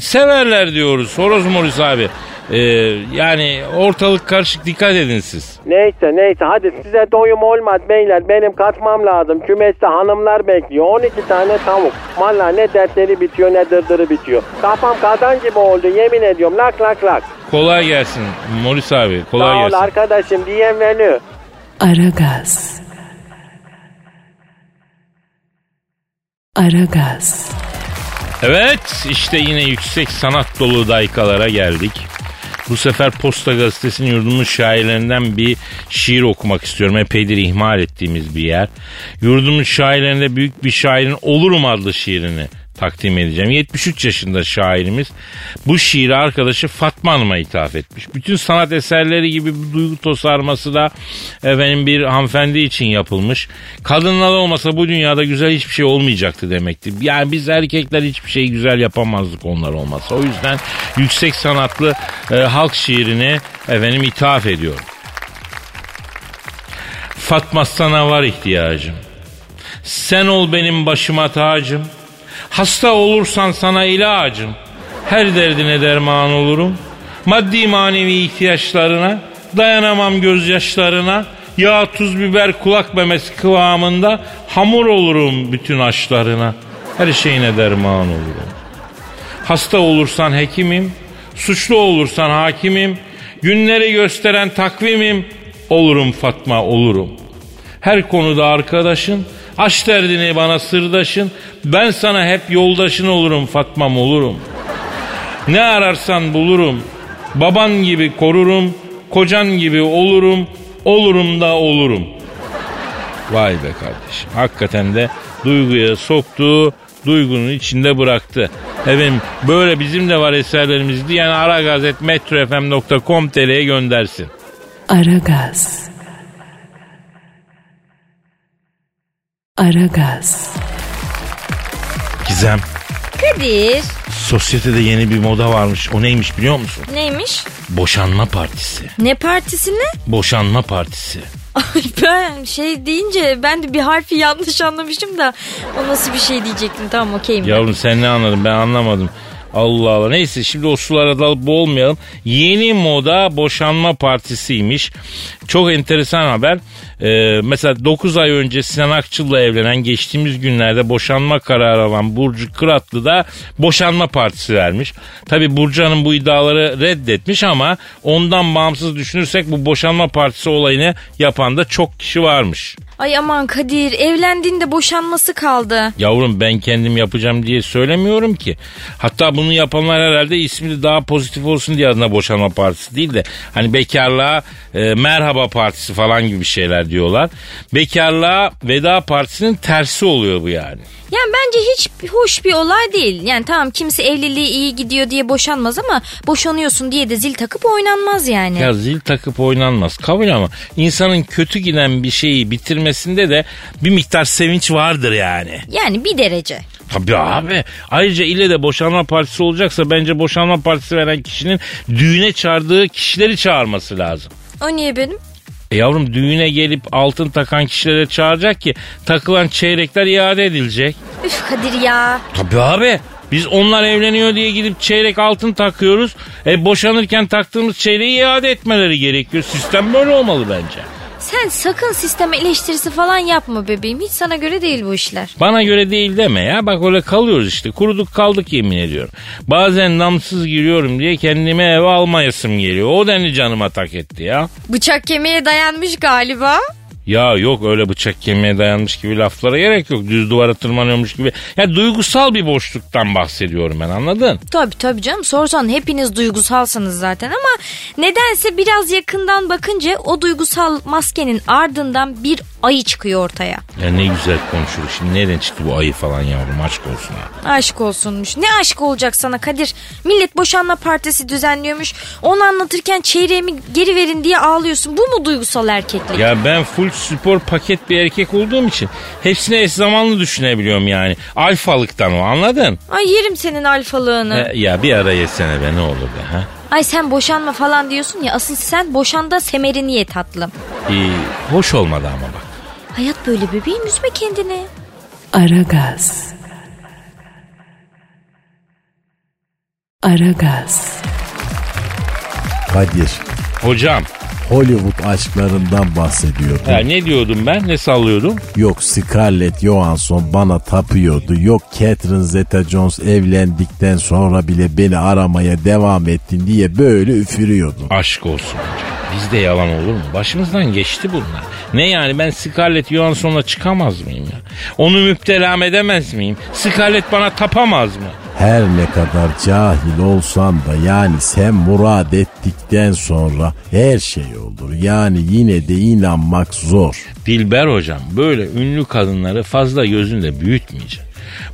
[SPEAKER 1] severler diyoruz Horoz Morris abi. E, yani ortalık karışık dikkat edin siz.
[SPEAKER 5] Neyse neyse hadi size doyum olmaz beyler benim kaçmam lazım. Kümeste hanımlar bekliyor 12 tane tavuk. Valla ne dertleri bitiyor ne dırdırı bitiyor. Kafam kazan gibi oldu yemin ediyorum lak lak lak.
[SPEAKER 1] Kolay gelsin Morris abi. Kolay
[SPEAKER 5] Sağ ol
[SPEAKER 1] gelsin.
[SPEAKER 5] arkadaşım diyen menü.
[SPEAKER 3] Aragaz. Aragaz.
[SPEAKER 1] Evet işte yine yüksek sanat dolu daykalara geldik. Bu sefer Posta Gazetesi'nin yurdumun şairlerinden bir şiir okumak istiyorum. Epeydir ihmal ettiğimiz bir yer. Yurdumun şairlerinde büyük bir şairin Olurum adlı şiirini takdim edeceğim. 73 yaşında şairimiz bu şiiri arkadaşı Fatma Hanım'a ithaf etmiş. Bütün sanat eserleri gibi bir duygu tosarması da efendim bir hanımefendi için yapılmış. Kadınlar olmasa bu dünyada güzel hiçbir şey olmayacaktı demekti. Yani biz erkekler hiçbir şeyi güzel yapamazdık onlar olmasa. O yüzden yüksek sanatlı e, halk şiirini efendim ithaf ediyorum. Fatma sana var ihtiyacım. Sen ol benim başıma tacım. Hasta olursan sana ilacım. Her derdine derman olurum. Maddi manevi ihtiyaçlarına dayanamam gözyaşlarına. Yağ tuz biber kulak memesi kıvamında hamur olurum bütün aşlarına. Her şeyine derman olurum. Hasta olursan hekimim, suçlu olursan hakimim, günleri gösteren takvimim, olurum Fatma olurum. Her konuda arkadaşın, aç derdini bana sırdaşın, ben sana hep yoldaşın olurum Fatmam olurum. Ne ararsan bulurum, baban gibi korurum, kocan gibi olurum, olurum da olurum. Vay be kardeşim. Hakikaten de duyguya soktu, duygunun içinde bıraktı. Efendim böyle bizim de var eserlerimiz diyen aragazetmetrofm.com.tr'ye göndersin.
[SPEAKER 6] Aragaz. Aragaz.
[SPEAKER 1] Gizem
[SPEAKER 2] Kadir.
[SPEAKER 1] sosyetede yeni bir moda varmış. O neymiş biliyor musun?
[SPEAKER 2] Neymiş?
[SPEAKER 1] Boşanma partisi.
[SPEAKER 2] Ne partisi ne?
[SPEAKER 1] Boşanma partisi.
[SPEAKER 2] Ay ben şey deyince ben de bir harfi yanlış anlamışım da o nasıl bir şey diyecektim. Tamam okeyim. ben.
[SPEAKER 1] Yavrum sen ne anladın ben anlamadım. Allah Allah. Neyse şimdi o sulara dalıp boğulmayalım. Yeni moda boşanma partisiymiş. Çok enteresan haber. Ee, mesela 9 ay önce Sinan Akçıl'la evlenen geçtiğimiz günlerde boşanma kararı alan Burcu Kıratlı da boşanma partisi vermiş. Tabi Burcu Hanım bu iddiaları reddetmiş ama ondan bağımsız düşünürsek bu boşanma partisi olayını yapan da çok kişi varmış.
[SPEAKER 2] Ay aman Kadir evlendiğinde boşanması kaldı.
[SPEAKER 1] Yavrum ben kendim yapacağım diye söylemiyorum ki. Hatta bunu yapanlar herhalde ismi de daha pozitif olsun diye adına boşanma partisi değil de hani bekarlığa e, merhaba partisi falan gibi şeyler diyorlar. Bekarlığa veda partisinin tersi oluyor bu yani.
[SPEAKER 2] Yani bence hiç hoş bir olay değil. Yani tamam kimse evliliği iyi gidiyor diye boşanmaz ama boşanıyorsun diye de zil takıp oynanmaz yani.
[SPEAKER 1] Ya zil takıp oynanmaz kabul ama insanın kötü giden bir şeyi bitirmesinde de bir miktar sevinç vardır yani.
[SPEAKER 2] Yani bir derece.
[SPEAKER 1] Tabii abi. Ayrıca ille de boşanma partisi olacaksa bence boşanma partisi veren kişinin düğüne çağırdığı kişileri çağırması lazım.
[SPEAKER 2] O niye benim?
[SPEAKER 1] E yavrum düğüne gelip altın takan kişilere çağıracak ki takılan çeyrekler iade edilecek.
[SPEAKER 2] Üf Kadir ya.
[SPEAKER 1] Tabii abi. Biz onlar evleniyor diye gidip çeyrek altın takıyoruz. E boşanırken taktığımız çeyreği iade etmeleri gerekiyor. Sistem böyle olmalı bence.
[SPEAKER 2] Sen sakın sistem eleştirisi falan yapma bebeğim. Hiç sana göre değil bu işler.
[SPEAKER 1] Bana göre değil deme ya. Bak öyle kalıyoruz işte. Kuruduk kaldık yemin ediyorum. Bazen namsız giriyorum diye kendime eve almayasım geliyor. O denli canıma tak etti ya.
[SPEAKER 2] Bıçak kemiğe dayanmış galiba.
[SPEAKER 1] Ya yok öyle bıçak kemiğe dayanmış gibi laflara gerek yok. Düz duvara tırmanıyormuş gibi. Ya duygusal bir boşluktan bahsediyorum ben anladın?
[SPEAKER 2] Tabii tabii canım sorsan hepiniz duygusalsınız zaten ama nedense biraz yakından bakınca o duygusal maskenin ardından bir ayı çıkıyor ortaya.
[SPEAKER 1] Ya ne güzel konuşuyor. Şimdi nereden çıktı bu ayı falan yavrum aşk olsun ya.
[SPEAKER 2] Aşk olsunmuş. Ne aşk olacak sana Kadir? Millet boşanma partisi düzenliyormuş. Onu anlatırken çeyreğimi geri verin diye ağlıyorsun. Bu mu duygusal erkeklik?
[SPEAKER 1] Ya ben full spor paket bir erkek olduğum için hepsini eş zamanlı düşünebiliyorum yani. Alfalıktan o anladın?
[SPEAKER 2] Ay yerim senin alfalığını.
[SPEAKER 1] E, ya bir ara yesene be ne olur be ha.
[SPEAKER 2] Ay sen boşanma falan diyorsun ya asıl sen boşanda semerini ye tatlım.
[SPEAKER 1] İyi, hoş olmadı ama bak.
[SPEAKER 2] Hayat böyle bebeğim üzme kendini.
[SPEAKER 6] Aragaz. Aragaz.
[SPEAKER 4] Kadir
[SPEAKER 1] Hocam
[SPEAKER 4] Hollywood aşklarından bahsediyordun.
[SPEAKER 1] ya ne diyordum ben ne sallıyordum?
[SPEAKER 4] Yok Scarlett Johansson bana tapıyordu. Yok Catherine Zeta-Jones evlendikten sonra bile beni aramaya devam ettin diye böyle üfürüyordun.
[SPEAKER 1] Aşk olsun hocam. Bizde yalan olur mu? Başımızdan geçti bunlar. Ne yani ben Scarlett Johansson'la çıkamaz mıyım ya? Onu müptelam edemez miyim? Scarlett bana tapamaz mı?
[SPEAKER 4] Her ne kadar cahil olsan da yani sen murad ettikten sonra her şey olur. Yani yine de inanmak zor.
[SPEAKER 1] Dilber hocam böyle ünlü kadınları fazla gözünde büyütmeyecek.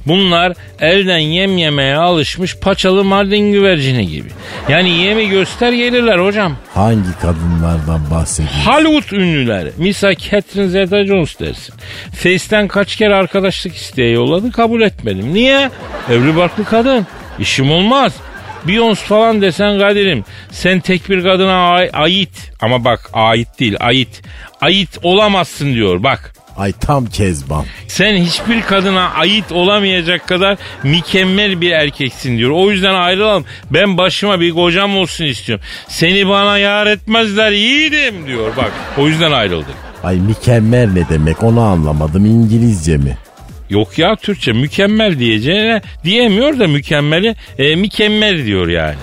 [SPEAKER 1] Bunlar elden yem yemeye alışmış paçalı mardin güvercini gibi. Yani yemi göster gelirler hocam.
[SPEAKER 4] Hangi kadınlardan bahsediyorsun?
[SPEAKER 1] Hollywood ünlüleri. Misal Catherine Zeta-Jones dersin. Face'ten kaç kere arkadaşlık isteği yolladı kabul etmedim. Niye? Evli barklı kadın. İşim olmaz. Beyoncé falan desen Kadir'im sen tek bir kadına ay- ait ama bak ait değil ait ait olamazsın diyor bak
[SPEAKER 4] Ay tam Kezban.
[SPEAKER 1] sen hiçbir kadına ait olamayacak kadar mükemmel bir erkeksin diyor. O yüzden ayrılalım. Ben başıma bir kocam olsun istiyorum. Seni bana yar etmezler yiğidim diyor. Bak o yüzden ayrıldık.
[SPEAKER 4] Ay mükemmel ne demek onu anlamadım İngilizce mi?
[SPEAKER 1] Yok ya Türkçe mükemmel diyeceğine diyemiyor da mükemmeli e, mükemmel diyor yani.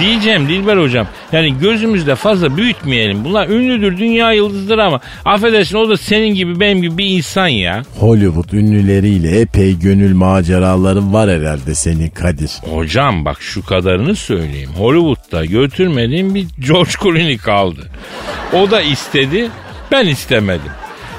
[SPEAKER 1] Diyeceğim Dilber hocam yani gözümüzde fazla büyütmeyelim. Bunlar ünlüdür dünya yıldızdır ama affedersin o da senin gibi benim gibi bir insan ya.
[SPEAKER 4] Hollywood ünlüleriyle epey gönül maceraların var herhalde senin Kadir.
[SPEAKER 1] Hocam bak şu kadarını söyleyeyim. Hollywood'da götürmediğim bir George Clooney kaldı. O da istedi, ben istemedim.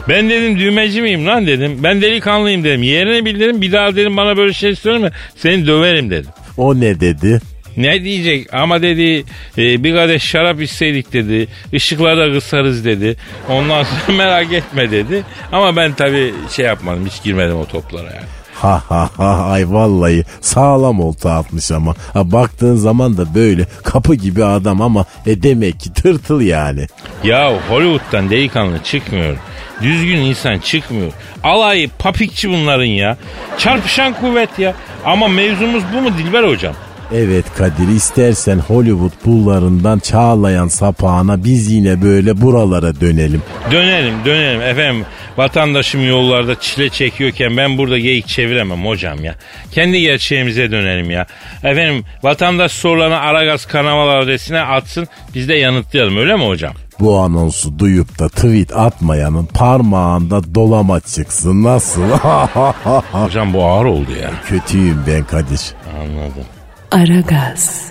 [SPEAKER 1] Ben dedim düğmeci miyim lan dedim. Ben delikanlıyım dedim. Yerine bildirim bir daha dedim bana böyle şey söyleme. Seni döverim dedim.
[SPEAKER 4] O ne dedi?
[SPEAKER 1] Ne diyecek ama dedi e, bir kadeh şarap içseydik dedi. Işıkları da kısarız dedi. Ondan sonra merak etme dedi. Ama ben tabii şey yapmadım hiç girmedim o toplara yani.
[SPEAKER 4] Ha ha ha ay vallahi sağlam olta atmış ama. Ha, baktığın zaman da böyle kapı gibi adam ama e demek ki tırtıl yani.
[SPEAKER 1] Ya Hollywood'dan delikanlı çıkmıyor. Düzgün insan çıkmıyor. Alayı papikçi bunların ya. Çarpışan kuvvet ya. Ama mevzumuz bu mu Dilber hocam?
[SPEAKER 4] Evet Kadir istersen Hollywood bullarından çağlayan sapağına biz yine böyle buralara dönelim.
[SPEAKER 1] Dönelim dönelim efendim. Vatandaşım yollarda çile çekiyorken ben burada geyik çeviremem hocam ya. Kendi gerçeğimize dönelim ya. Efendim vatandaş sorularını Aragaz kanal adresine atsın biz de yanıtlayalım öyle mi hocam?
[SPEAKER 4] Bu anonsu duyup da tweet atmayanın parmağında dolama çıksın nasıl?
[SPEAKER 1] Hocam bu ağır oldu ya.
[SPEAKER 4] Kötüyüm ben Kadir.
[SPEAKER 1] Anladım.
[SPEAKER 6] Aragaz.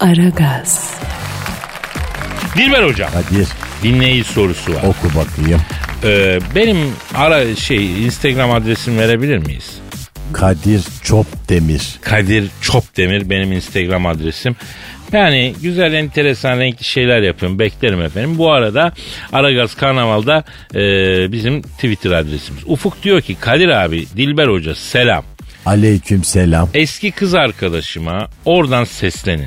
[SPEAKER 6] Aragaz.
[SPEAKER 1] Dilber hocam
[SPEAKER 4] Kadir
[SPEAKER 1] dinleyici sorusu var.
[SPEAKER 4] oku bakayım.
[SPEAKER 1] Ee, benim ara şey Instagram adresimi verebilir miyiz?
[SPEAKER 4] Kadir Çop Demir.
[SPEAKER 1] Kadir Çopdemir benim Instagram adresim. Yani güzel, enteresan, renkli şeyler yapıyorum. Beklerim efendim. Bu arada Aragaz Karnaval'da e, bizim Twitter adresimiz. Ufuk diyor ki Kadir abi, Dilber Hoca selam.
[SPEAKER 4] Aleyküm selam.
[SPEAKER 1] Eski kız arkadaşıma oradan seslenin.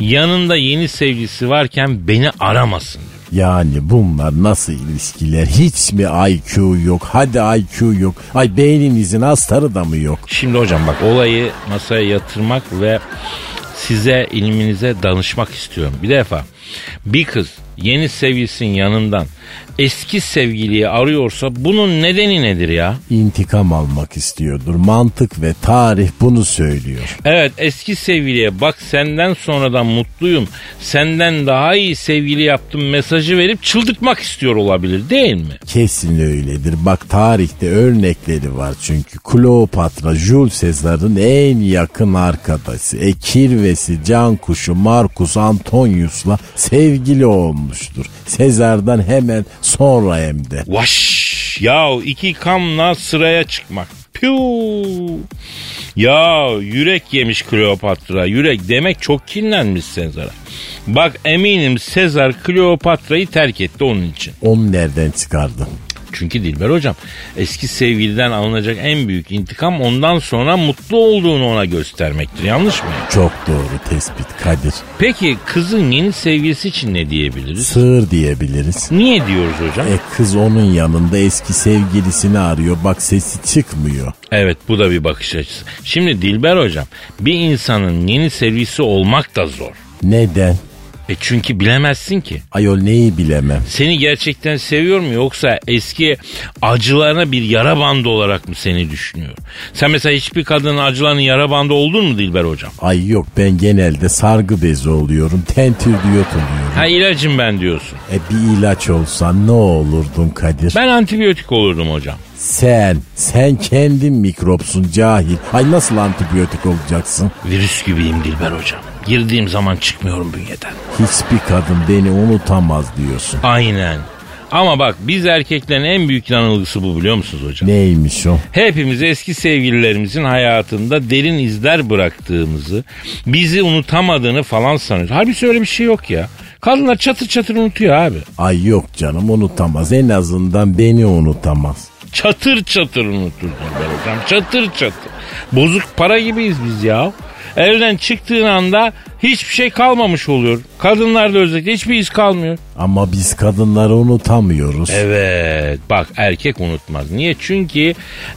[SPEAKER 1] Yanında yeni sevgilisi varken beni aramasın diyor.
[SPEAKER 4] Yani bunlar nasıl ilişkiler? Hiç mi IQ yok? Hadi IQ yok. Ay beyninizin astarı da mı yok?
[SPEAKER 1] Şimdi hocam bak olayı masaya yatırmak ve size ilminize danışmak istiyorum. Bir defa bir kız yeni sevgilisinin yanından eski sevgiliyi arıyorsa bunun nedeni nedir ya?
[SPEAKER 4] İntikam almak istiyordur. Mantık ve tarih bunu söylüyor.
[SPEAKER 1] Evet eski sevgiliye bak senden sonradan mutluyum. Senden daha iyi sevgili yaptım mesajı verip çıldırtmak istiyor olabilir değil mi?
[SPEAKER 4] Kesin öyledir. Bak tarihte örnekleri var çünkü. Kleopatra, Jules Caesar'ın en yakın arkadaşı. E kirvesi, can kuşu Marcus Antonius'la sevgili olmuştur. Sezar'dan hemen sonra hem de.
[SPEAKER 1] Vaş ya iki kamla sıraya çıkmak. Piu. Ya yürek yemiş Kleopatra yürek demek çok kinlenmiş Sezar'a. Bak eminim Sezar Kleopatra'yı terk etti onun için.
[SPEAKER 4] Onu nereden çıkardın?
[SPEAKER 1] Çünkü Dilber hocam eski sevgiliden alınacak en büyük intikam ondan sonra mutlu olduğunu ona göstermektir. Yanlış mı?
[SPEAKER 4] Çok doğru tespit Kadir.
[SPEAKER 1] Peki kızın yeni sevgilisi için ne diyebiliriz?
[SPEAKER 4] Sığır diyebiliriz.
[SPEAKER 1] Niye diyoruz hocam?
[SPEAKER 4] E kız onun yanında eski sevgilisini arıyor. Bak sesi çıkmıyor.
[SPEAKER 1] Evet bu da bir bakış açısı. Şimdi Dilber hocam bir insanın yeni sevgilisi olmak da zor.
[SPEAKER 4] Neden?
[SPEAKER 1] E çünkü bilemezsin ki.
[SPEAKER 4] Ayol neyi bilemem.
[SPEAKER 1] Seni gerçekten seviyor mu yoksa eski acılarına bir yara bandı olarak mı seni düşünüyor? Sen mesela hiçbir kadının acılarının yara bandı oldun mu Dilber hocam?
[SPEAKER 4] Ay yok ben genelde sargı bezi oluyorum. Tentür diyot oluyorum.
[SPEAKER 1] Ha ilacım ben diyorsun.
[SPEAKER 4] E bir ilaç olsan ne olurdun Kadir?
[SPEAKER 1] Ben antibiyotik olurdum hocam.
[SPEAKER 4] Sen, sen kendin mikropsun cahil. Ay nasıl antibiyotik olacaksın?
[SPEAKER 1] Virüs gibiyim Dilber hocam. Girdiğim zaman çıkmıyorum bünyeden.
[SPEAKER 4] Hiçbir kadın beni unutamaz diyorsun.
[SPEAKER 1] Aynen. Ama bak biz erkeklerin en büyük yanılgısı bu biliyor musunuz hocam?
[SPEAKER 4] Neymiş o?
[SPEAKER 1] Hepimiz eski sevgililerimizin hayatında derin izler bıraktığımızı, bizi unutamadığını falan sanıyoruz. Halbuki öyle bir şey yok ya. Kadınlar çatır çatır unutuyor abi.
[SPEAKER 4] Ay yok canım unutamaz. En azından beni unutamaz.
[SPEAKER 1] Çatır çatır unuturlar ben hocam. Çatır çatır. Bozuk para gibiyiz biz ya. Evden çıktığın anda hiçbir şey kalmamış oluyor. Kadınlarda özellikle hiçbir iz kalmıyor.
[SPEAKER 4] Ama biz kadınları unutamıyoruz.
[SPEAKER 1] Evet bak erkek unutmaz. Niye? Çünkü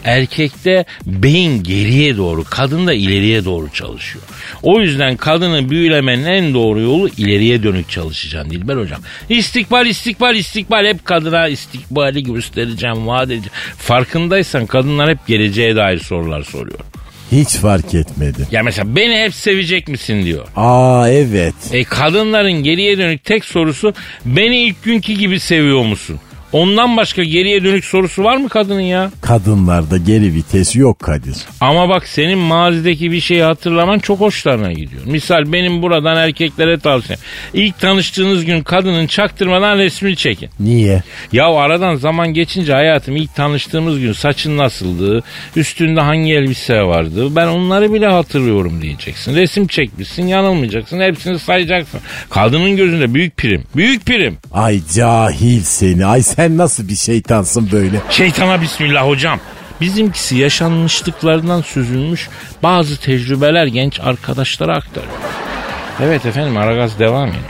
[SPEAKER 1] erkekte beyin geriye doğru kadın da ileriye doğru çalışıyor. O yüzden kadını büyülemenin en doğru yolu ileriye dönük çalışacaksın Dilber hocam. İstikbal istikbal istikbal hep kadına istikbali göstereceğim vaat edeceğim. Farkındaysan kadınlar hep geleceğe dair sorular soruyor.
[SPEAKER 4] Hiç fark etmedim.
[SPEAKER 1] Ya mesela beni hep sevecek misin diyor.
[SPEAKER 4] Aa evet.
[SPEAKER 1] E kadınların geriye dönük tek sorusu beni ilk günkü gibi seviyor musun? Ondan başka geriye dönük sorusu var mı kadının ya?
[SPEAKER 4] Kadınlarda geri vites yok Kadir.
[SPEAKER 1] Ama bak senin mazideki bir şeyi hatırlaman çok hoşlarına gidiyor. Misal benim buradan erkeklere tavsiyem. İlk tanıştığınız gün kadının çaktırmadan resmini çekin.
[SPEAKER 4] Niye?
[SPEAKER 1] Ya aradan zaman geçince hayatım ilk tanıştığımız gün saçın nasıldı, üstünde hangi elbise vardı ben onları bile hatırlıyorum diyeceksin. Resim çekmişsin yanılmayacaksın hepsini sayacaksın. Kadının gözünde büyük prim, büyük prim.
[SPEAKER 4] Ay cahil seni. Ay sen nasıl bir şeytansın böyle?
[SPEAKER 1] Şeytana bismillah hocam. Bizimkisi yaşanmışlıklarından süzülmüş bazı tecrübeler genç arkadaşlara aktarıyor. Evet efendim Aragaz devam ediyor.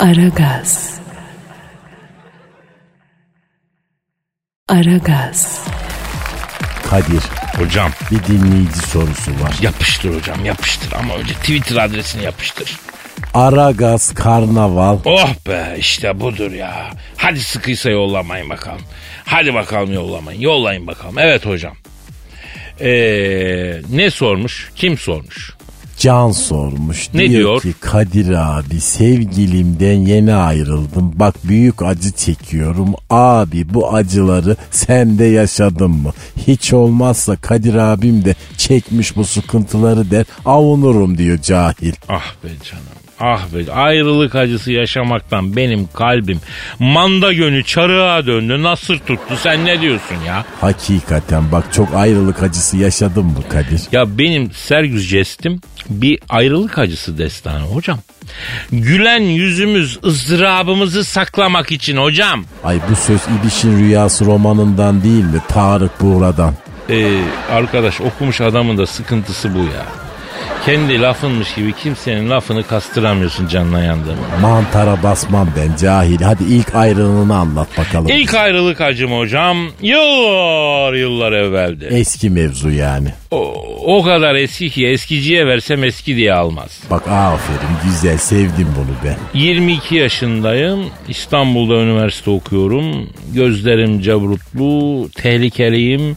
[SPEAKER 6] Aragaz. Aragaz.
[SPEAKER 4] Kadir
[SPEAKER 1] Hocam
[SPEAKER 4] bir dinleyici sorusu var.
[SPEAKER 1] yapıştır hocam yapıştır ama önce Twitter adresini yapıştır.
[SPEAKER 4] Aragaz Karnaval
[SPEAKER 1] Oh be işte budur ya. Hadi sıkıysa yollamayın bakalım. Hadi bakalım yollamayın. Yollayın bakalım. Evet hocam. Ee, ne sormuş? Kim sormuş?
[SPEAKER 4] Can sormuş.
[SPEAKER 1] Ne diyor?
[SPEAKER 4] ki Kadir abi sevgilimden yeni ayrıldım. Bak büyük acı çekiyorum. Abi bu acıları sen de yaşadın mı? Hiç olmazsa Kadir abim de çekmiş bu sıkıntıları der avunurum diyor cahil.
[SPEAKER 1] Ah be canım. Ah be ayrılık acısı yaşamaktan benim kalbim manda gönü çarığa döndü nasır tuttu sen ne diyorsun ya?
[SPEAKER 4] Hakikaten bak çok ayrılık acısı yaşadın mı Kadir?
[SPEAKER 1] Ya benim sergüz jestim bir ayrılık acısı destanı hocam. Gülen yüzümüz ızdırabımızı saklamak için hocam.
[SPEAKER 4] Ay bu söz İbiş'in Rüyası romanından değil mi? Tarık Buğra'dan.
[SPEAKER 1] Ee, arkadaş okumuş adamın da sıkıntısı bu ya. Kendi lafınmış gibi kimsenin lafını kastıramıyorsun canına yandığımı.
[SPEAKER 4] Mantara basmam ben cahil. Hadi ilk ayrılığını anlat bakalım.
[SPEAKER 1] İlk ayrılık acım hocam yıllar yıllar evveldi.
[SPEAKER 4] Eski mevzu yani.
[SPEAKER 1] O, o kadar eski ki eskiciye versem eski diye almaz.
[SPEAKER 4] Bak aferin güzel sevdim bunu be.
[SPEAKER 1] 22 yaşındayım. İstanbul'da üniversite okuyorum. Gözlerim cavrutlu, tehlikeliyim.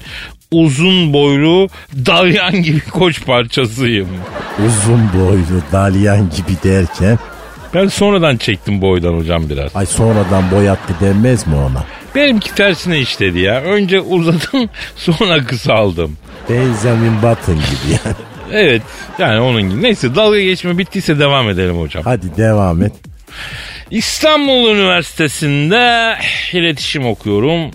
[SPEAKER 1] Uzun boylu, dalyan gibi koç parçasıyım.
[SPEAKER 4] Uzun boylu dalyan gibi derken
[SPEAKER 1] Ben sonradan çektim boydan hocam biraz.
[SPEAKER 4] ay sonradan boy hakkı denmez mi ona?
[SPEAKER 1] Benimki tersine işledi ya. Önce uzadım sonra kısaldım.
[SPEAKER 4] Benjamin Button gibi yani.
[SPEAKER 1] Evet yani onun gibi. Neyse dalga geçme bittiyse devam edelim hocam.
[SPEAKER 4] Hadi devam et.
[SPEAKER 1] İstanbul Üniversitesi'nde iletişim okuyorum.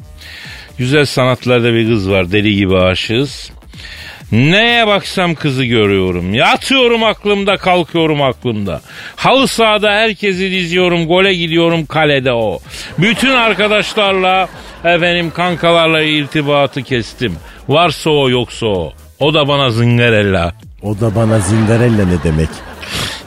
[SPEAKER 1] Güzel sanatlarda bir kız var deli gibi aşığız. Neye baksam kızı görüyorum. Yatıyorum aklımda kalkıyorum aklımda. Halı sahada herkesi diziyorum. Gole gidiyorum kalede o. Bütün arkadaşlarla efendim kankalarla irtibatı kestim. Varsa o yoksa o. O da bana zıngarella.
[SPEAKER 4] O da bana zindarella ne demek?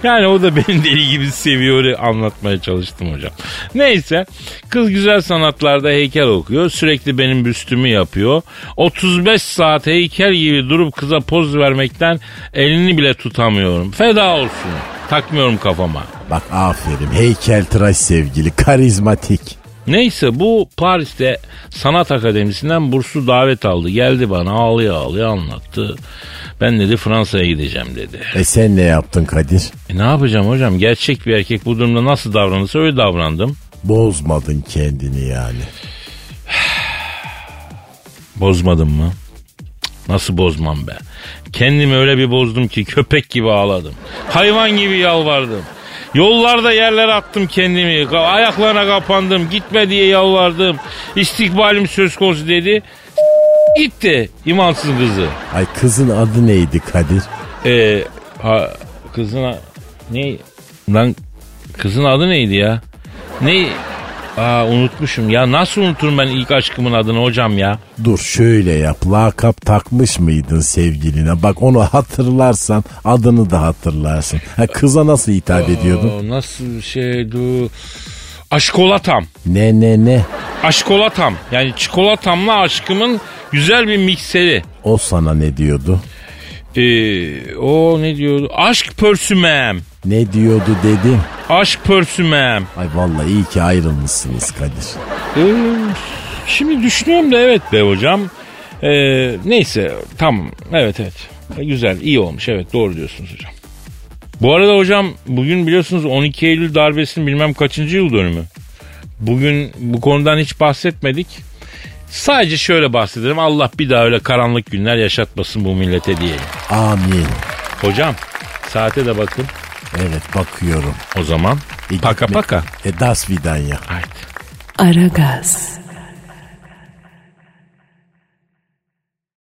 [SPEAKER 1] Yani o da beni deli gibi seviyor anlatmaya çalıştım hocam. Neyse kız güzel sanatlarda heykel okuyor. Sürekli benim büstümü yapıyor. 35 saat heykel gibi durup kıza poz vermekten elini bile tutamıyorum. Feda olsun. Takmıyorum kafama.
[SPEAKER 4] Bak aferin heykel tıraş sevgili karizmatik.
[SPEAKER 1] Neyse bu Paris'te sanat akademisinden burslu davet aldı. Geldi bana ağlıyor ağlıyor anlattı. Ben dedi Fransa'ya gideceğim dedi.
[SPEAKER 4] E sen ne yaptın Kadir?
[SPEAKER 1] E ne yapacağım hocam? Gerçek bir erkek bu durumda nasıl davranırsa öyle davrandım.
[SPEAKER 4] Bozmadın kendini yani.
[SPEAKER 1] Bozmadım mı? Cık, Nasıl bozmam be? Kendimi öyle bir bozdum ki köpek gibi ağladım. Hayvan gibi yalvardım. Yollarda yerlere attım kendimi. Ka- Ayaklarına kapandım. Gitme diye yalvardım. İstikbalim söz konusu dedi. Gitti imansız kızı.
[SPEAKER 4] Ay kızın adı neydi Kadir?
[SPEAKER 1] Ee, ha, kızına ne lan kızın adı neydi ya? Ne? Aa unutmuşum. Ya nasıl unuturum ben ilk aşkımın adını hocam ya?
[SPEAKER 4] Dur şöyle yap lakap takmış mıydın sevgiline? Bak onu hatırlarsan adını da hatırlarsın. Ha, kıza nasıl hitap ediyordun?
[SPEAKER 1] Aa, Ee, nasıl bir şeydi? Aşkolatam.
[SPEAKER 4] Ne ne ne?
[SPEAKER 1] Aşkolatam. Yani çikolatamla aşkımın güzel bir mikseri.
[SPEAKER 4] O sana ne diyordu?
[SPEAKER 1] Ee, o ne diyordu? Aşk pörsümem.
[SPEAKER 4] Ne diyordu dedim.
[SPEAKER 1] Aşk pörsümem.
[SPEAKER 4] Ay vallahi iyi ki ayrılmışsınız Kadir.
[SPEAKER 1] Ee, şimdi düşünüyorum da evet be hocam. Ee, neyse tamam evet evet. Ee, Güzel iyi olmuş evet doğru diyorsunuz hocam. Bu arada hocam bugün biliyorsunuz 12 Eylül darbesinin bilmem kaçıncı yıl dönümü. Bugün bu konudan hiç bahsetmedik. Sadece şöyle bahsedelim. Allah bir daha öyle karanlık günler yaşatmasın bu millete diyelim.
[SPEAKER 4] Amin.
[SPEAKER 1] Hocam saate de bakın.
[SPEAKER 4] Evet bakıyorum.
[SPEAKER 1] O zaman
[SPEAKER 4] E,
[SPEAKER 1] paka
[SPEAKER 4] gitme-
[SPEAKER 1] paka.
[SPEAKER 4] E das vidanya.
[SPEAKER 1] Haydi.
[SPEAKER 6] Aragaz.